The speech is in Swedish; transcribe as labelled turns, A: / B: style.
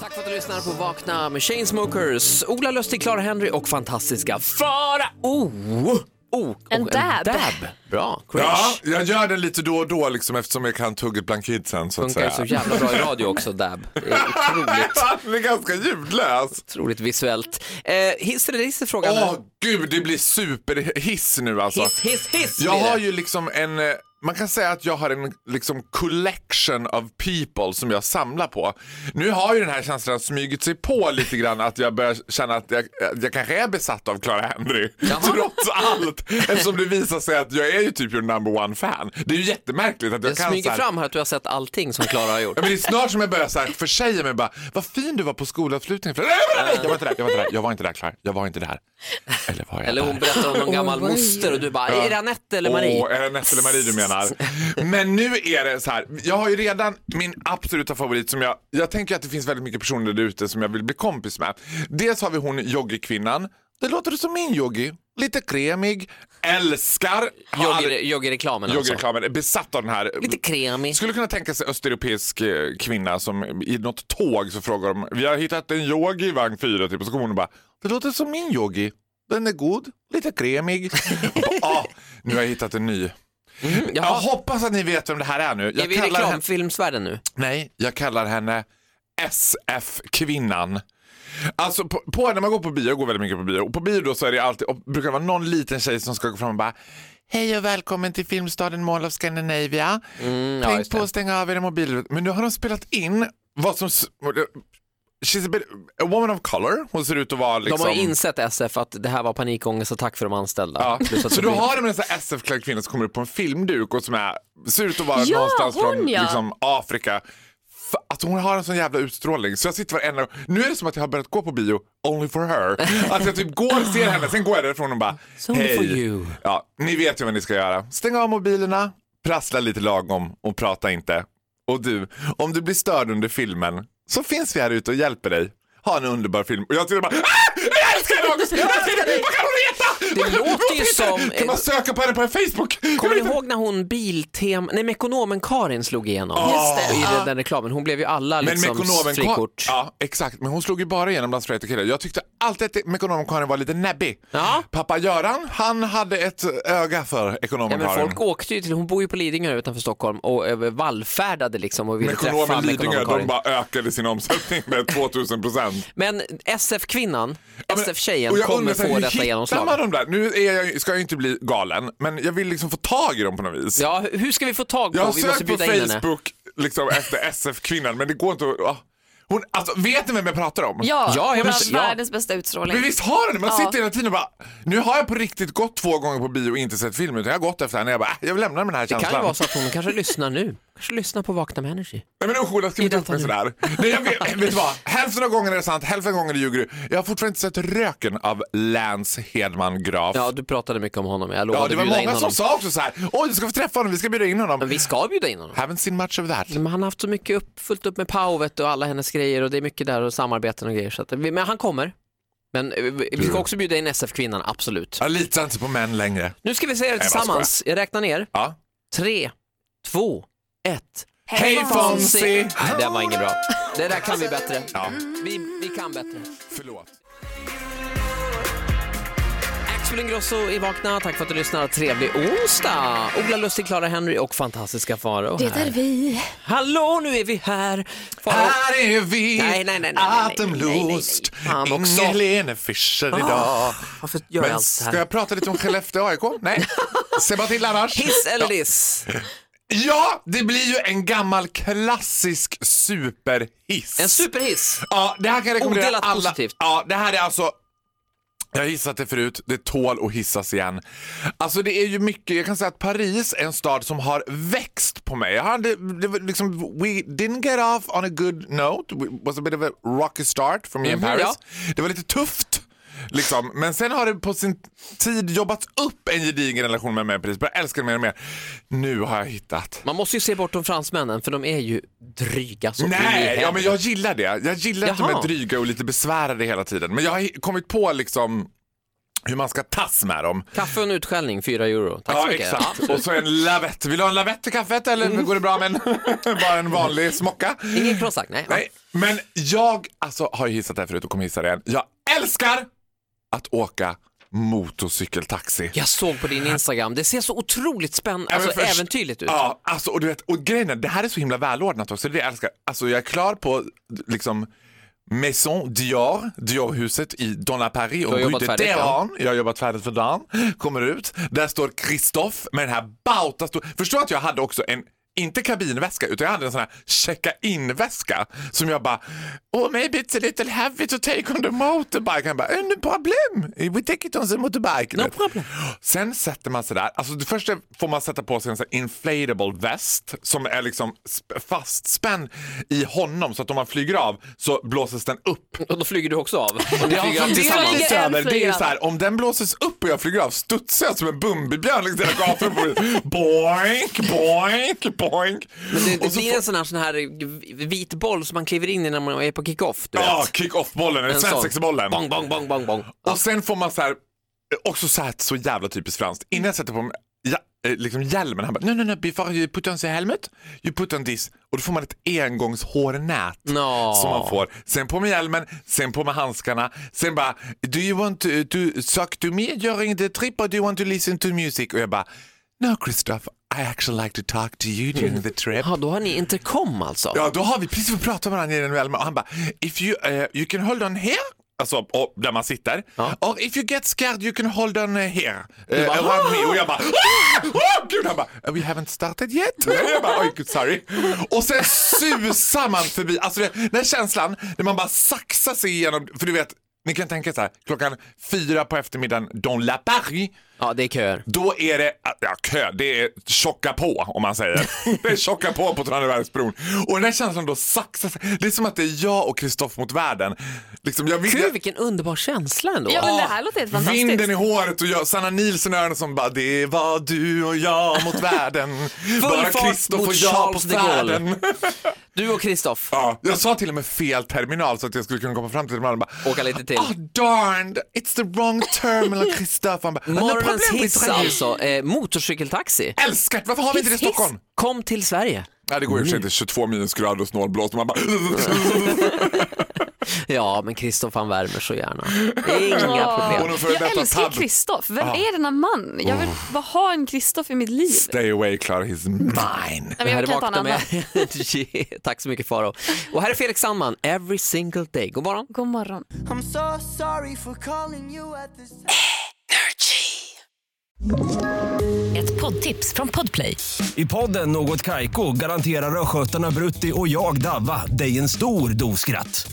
A: Tack för att du lyssnar på Vakna med Chainsmokers. Ola Lustig, Clara Henry och fantastiska Fara O. Oh,
B: En dab.
A: Bra, crash.
C: Ja, jag gör den lite då och då liksom, eftersom jag kan tugget bland kidsen så att
A: Funkar
C: säga.
A: så jävla bra i radio också, dab. Det är otroligt,
C: Den är ganska ljudlös.
A: otroligt visuellt. Eh, hiss eller diss är frågan.
C: Åh gud, det blir superhiss nu alltså.
A: hiss, hiss, hiss
C: Jag
A: blir det.
C: har ju liksom en, eh, man kan säga att jag har en liksom collection of people som jag samlar på. Nu har ju den här känslan smugit sig på lite grann att jag börjar känna att jag, att jag kanske är besatt av Clara Henry. Trots allt. Eftersom det visar sig att jag är ju typ your number one fan. Det är ju jättemärkligt att jag
A: Det
C: kan så
A: smyger
C: här,
A: fram här att du har sett allting som Klara har gjort.
C: Ja, men det är snart som jag börjar så här försäga mig bara, vad fin du var på skolavslutningen. För- Nej, nej, nej, Jag var inte där, jag var inte där, jag var inte där Clara, jag var inte där. Eller var jag
A: Eller
C: där?
A: hon berättar om någon gammal moster och du bara, är det Anette eller Marie?
C: Åh, är det Nette eller Marie du menar? Men nu är det så här. Jag har ju redan min absoluta favorit som jag... Jag tänker att det finns väldigt mycket personer där ute som jag vill bli kompis med. Dels har vi hon yoggikvinnan. Det låter som min yogi. Lite kremig. Älskar. har aldrig-
A: Jogger- Joggerreklamen alltså.
C: Yogireklamen. Är besatt av den här.
A: Lite kremig.
C: Skulle kunna tänka sig östeuropeisk eh, kvinna som i något tåg så frågar de Vi har hittat en yogi i vagn 4 typ och så kommer hon och bara Det låter som min yogi. Den är god, lite kremig. Och bara, ah, nu har jag hittat en ny. Jag
A: jaha.
C: hoppas att ni vet vem det här är nu. Jag
A: Är vi i
C: kallar henne,
A: reklamfilmsvärlden nu?
C: nej, jag kallar henne SF-kvinnan. Alltså på, på, när man går på bio, jag går väldigt mycket på bio, och på bio då så är det alltid, och brukar det vara någon liten tjej som ska gå fram och bara Hej och välkommen till filmstaden Mall of Scandinavia.
A: Mm,
C: Tänk
A: just
C: på
A: det.
C: att stänga av era mobiler. Men nu har de spelat in vad som... s- She's a, bit, a woman of color. Hon ser ut att vara liksom...
A: De har ju insett SF att det här var panikångest och tack för de anställda.
C: Ja.
A: Plus att
C: Så
A: det
C: då
A: blir-
C: har de en sån här SF-klädd kvinna som kommer upp på en filmduk och som är, ser ut att vara
B: Ja,
C: någonstans
B: hon,
C: från
B: ja.
C: liksom, Afrika. F- Att hon har en sån jävla utstrålning. Så jag sitter varenda Nu är det som att jag har börjat gå på bio only for her. Att jag typ går och ser henne, sen går jag därifrån och bara
A: So only
C: hej.
A: for you.
C: Ja, ni vet ju vad ni ska göra. Stäng av mobilerna, prassla lite lagom och prata inte. Och du, om du blir störd under filmen så finns vi här ute och hjälper dig. Ha en underbar film. Och jag sitter bara ah! Jag älskar henne August! Jag älskar henne! Vad kan hon heta?
A: Det låter ju som-
C: Kan man söka på henne på Facebook?
A: Kommer ni ihåg när hon biltem... Nej, Mekonomen Karin slog igenom
B: Just det,
A: i
B: ja.
A: den reklamen. Hon blev ju alla
C: Men
A: liksom
C: Mekonomen
A: frikort.
C: Ja, exakt. Men hon slog ju bara igenom bland straighta killar. Jag tyckte alltid att Mekonomen Karin var lite näbbig.
A: Ja.
C: Pappa Göran, han hade ett öga för
A: Ja,
C: Ekonomen
A: men
C: Karin.
A: folk åkte ju till, hon bor ju på Lidingö utanför Stockholm och över- vallfärdade liksom och ville träffa
C: Mekonomen Lidingö,
A: Mekonomen Karin.
C: de bara ökade sin omsättning med 2000 procent.
A: Men SF-kvinnan, SF-tjejen
C: Och jag
A: kommer
C: undrar så här,
A: få
C: hur
A: detta
C: hittar
A: genomslag.
C: Man de där? Nu är jag, ska jag ju inte bli galen, men jag vill liksom få tag i dem på något vis.
A: Ja, hur ska vi få tag på?
C: jag har
A: vi måste
C: sökt på
A: bjuda in henne.
C: Facebook liksom, efter SF-kvinnan, men det går inte att... ah. Hon, alltså, vet ni vem jag pratar om?
B: Ja,
A: Ja, jag
B: hon
A: vet- ja.
B: har världens bästa utstrålning.
C: Men visst har den Man
B: Ja.
C: sitter hela tiden och bara, nu har jag på riktigt gått två gånger på bio och inte sett filmen utan jag har gått efter henne. Jag bara, äh, jag vill lämna den här
A: Det
C: känslan.
A: kan ju vara så att hon kanske lyssnar nu. Kanske lyssnar på Vakna med Energy.
C: Nej men usch Ola, skriv
A: I
C: inte upp
A: detta nu.
C: mig sådär. Nej, jag vet, vet du vad? Hälften av gångerna är det sant, hälften av gångerna ljuger du. Jag har fortfarande inte sett röken av Lance Hedman Graf.
A: Ja, du pratade mycket om honom. Jag lovade
C: Ja, det var
A: bjuda in
C: många
A: honom.
C: som sa också så här. Oj, du ska få träffa honom, vi ska bjuda in honom.
A: Men vi ska bjuda in honom.
C: Haven't seen much of that.
A: Men han har haft så mycket upp, fullt upp med Pau vet du, och alla hennes grejer och det är mycket där och samarbeten och grejer. Så att, vi- men han kommer. Men eh, vi vi ska också bjuda in SF-kvinnan, absolut.
C: Jag litar inte på män längre.
A: Nu ska vi säga det
C: Nej, vad
A: tillsammans. Jag räknar ner.
C: Ja.
A: Tre, två, ett.
C: Hej Fonzie!
A: Nej, den var ingen bra. Det där kan vi bättre.
C: Ja,
A: Vi, vi kan bättre.
C: förlåt.
A: Axel Ingrosso i Vakna, tack för att du lyssnar. Trevlig onsdag! Ola Lustig, Clara Henry och fantastiska Faro
B: Det
A: här.
B: är vi.
A: Hallå, nu är vi här! Faro.
C: Här är vi,
A: Nej, nej, nej, nej, nej,
C: Atemlust,
A: nej, nej, nej. Fan också.
C: Inge-Lene Fischer idag.
A: Varför gör jag
C: Men
A: allt så
C: ska
A: här?
C: jag prata lite om Skellefteå AIK? Nej, se bara till annars.
A: Hiss eller diss?
C: Ja, det blir ju en gammal klassisk superhiss.
A: En superhiss.
C: Ja, det här kan jag rekommendera
A: Odelat
C: alla.
A: positivt.
C: Ja, det här är alltså jag har hissat det förut, det tål att hissas igen. Alltså det är ju mycket, jag kan säga att Paris är en stad som har växt på mig. Jag hade, det var liksom, we didn't get off on a good note, it was a bit of a rocky start for me in
A: Mhm,
C: Paris.
A: ja.
C: Det var lite tufft. Liksom. Men sen har det på sin tid jobbats upp en gedigen relation med mig i Paris. Jag älskar det mer och mer. Nu har jag hittat.
A: Man måste ju se bortom fransmännen för de är ju dryga som in i
C: Nej, ja,
A: helvete.
C: men jag gillar det. Jag gillar att de
A: Jaha.
C: är dryga och lite besvärade hela tiden. Men jag har hi- kommit på liksom hur man ska tas med dem.
A: Kaffe och en utskällning, 4 euro. Tack så
C: Ja,
A: mycket.
C: exakt. Och så en lavett. Vill du ha en lavett till kaffet eller går det bra med en, bara en vanlig smocka?
A: Ingen crossack, nej.
C: Nej, men jag alltså, har ju hissat det här förut och kommer hissa det igen. Jag älskar att åka motorcykeltaxi.
A: Jag såg på din Instagram, det ser så otroligt spännande,
C: Ja, men
A: alltså
C: först-
A: äventyrligt ut.
C: Ja, alltså, och, du vet, och grejen är, det här är så himla välordnat också. Det är det jag älskar. Alltså, jag är klar på liksom Maison Dior, Diorhuset i Donna Paris och
A: har
C: Rue
A: jobbat
C: de
A: färdigt, ja.
C: Teheran. Jag har jobbat färdigt för dagen. Kommer ut. Där står Kristoff med den här bauta stor... Förstå att jag hade också en inte kabinväska, utan jag hade en sån här checka-in-väska som jag bara Oh, maybe it's a little heavy to take on the motorbike. Han bara, eh, no problem. We take it on the motorbike.
A: No problem.
C: Sen sätter man sig där. Alltså det första får man sätta på sig en sån här inflatable väst som är liksom sp- fastspänd i honom så att om man flyger av så blåses den upp.
A: Och då flyger du också av. Och ni
C: Jag
A: flyger av
C: funderar
A: tillsammans.
C: lite över.
B: flyger
C: Det är ju
B: av.
C: så här, om den blåses upp och jag flyger av studsar jag som en Bumbibjörn längs hela gatan. boink, boink, boink.
A: Men det,
C: Och
A: det
C: så
A: blir en sån här, sån här vit boll som man kliver in i när man är på kick-off. Du vet.
C: Ja, kick-off-bollen, eller
A: En sån.
C: svensexbollen.
A: Bong, bong, bong, bong, bong.
C: Och sen får man så här, också så här, så jävla typiskt franskt. Innan jag sätter på mig ja, eh, liksom hjälmen, han bara no, no, no, before you put on the helmet, you put on this. Och då får man ett engångshårnät
A: Nå.
C: som man får. Sen på med hjälmen, sen på med handskarna, sen bara do you want to, to talk to me during the trip or do you want to listen to music? Och jag bara no Christoph, I actually like to talk to you during the trip.
A: Ja, då har ni intercom alltså.
C: Ja, då har vi precis fått prata med varandra i den hjälmen och han bara if you, eh, you can hold on here Alltså och, där man sitter.
A: Ja.
C: Or if you get scared you can hold on eh, here. Eh,
A: bara,
C: around me. Och jag bara "Ah! oh, gud, han bara "Eh, we haven't started yet. jag bara oj gud sorry. Och sen susar man förbi, alltså det- den här känslan när man bara saxar sig igenom, för du vet ni kan tänka så här, klockan fyra på eftermiddagen, dans la Paris,
A: Ja, det är köer.
C: då är det ja, kö, det är tjocka på om man säger. det är tjocka på på Tranebergsbron. Och den här känslan då saxar sig. Det är som att det är jag och Kristoff mot världen. Liksom, jag vill,
A: Gud, vilken underbar känsla ändå.
B: Ja, men det här låter helt fantastiskt.
C: Vinden i håret och jag, Sanna Nilsson i öronen som bara det var du och jag mot världen. Bara
A: fart
C: Kristoff
A: mot
C: och jag på
A: Charles de Gaulle.
C: färden.
A: Du och Kristoff.
C: ja, jag sa till och med fel terminal så att jag skulle kunna komma fram till terminalen och bara
A: Åka lite till.
C: Oh darned, it's the wrong terminal Kristoff. Han bara, "No problem,
A: Morgonens
C: we
A: hiss
C: try."
A: alltså, eh, motorcykeltaxi.
C: Älskat, varför har vi inte det i
A: Hiss, hiss.
C: Stockholm?
A: Kom till Sverige.
C: Ja, det går ju mm. inte 22 minusgrader och snålblåst och man bara...
A: Ja, men Kristoff han värmer så gärna. Inga
B: Åh.
A: problem.
C: Hon har före
B: Jag
C: detta
B: älskar
C: tab.
B: Kristoff. Vem är denna man? Jag vill bara ha en Kristoff i mitt liv.
C: Stay away, Clara, he's mine.
B: Nej, men jag
A: här
B: kan
A: är
B: inte ha en
A: Vakna
B: annan.
A: med. Yeah, Tack så mycket Faro. Och här är Felix Sandman, Every single day. God morgon.
B: God morgon.
D: I'm so sorry for calling you at this time.
E: Ett poddtips från Podplay.
F: I podden Något Kaiko garanterar östgötarna Brutti och jag, Davva, dig en stor dos skratt.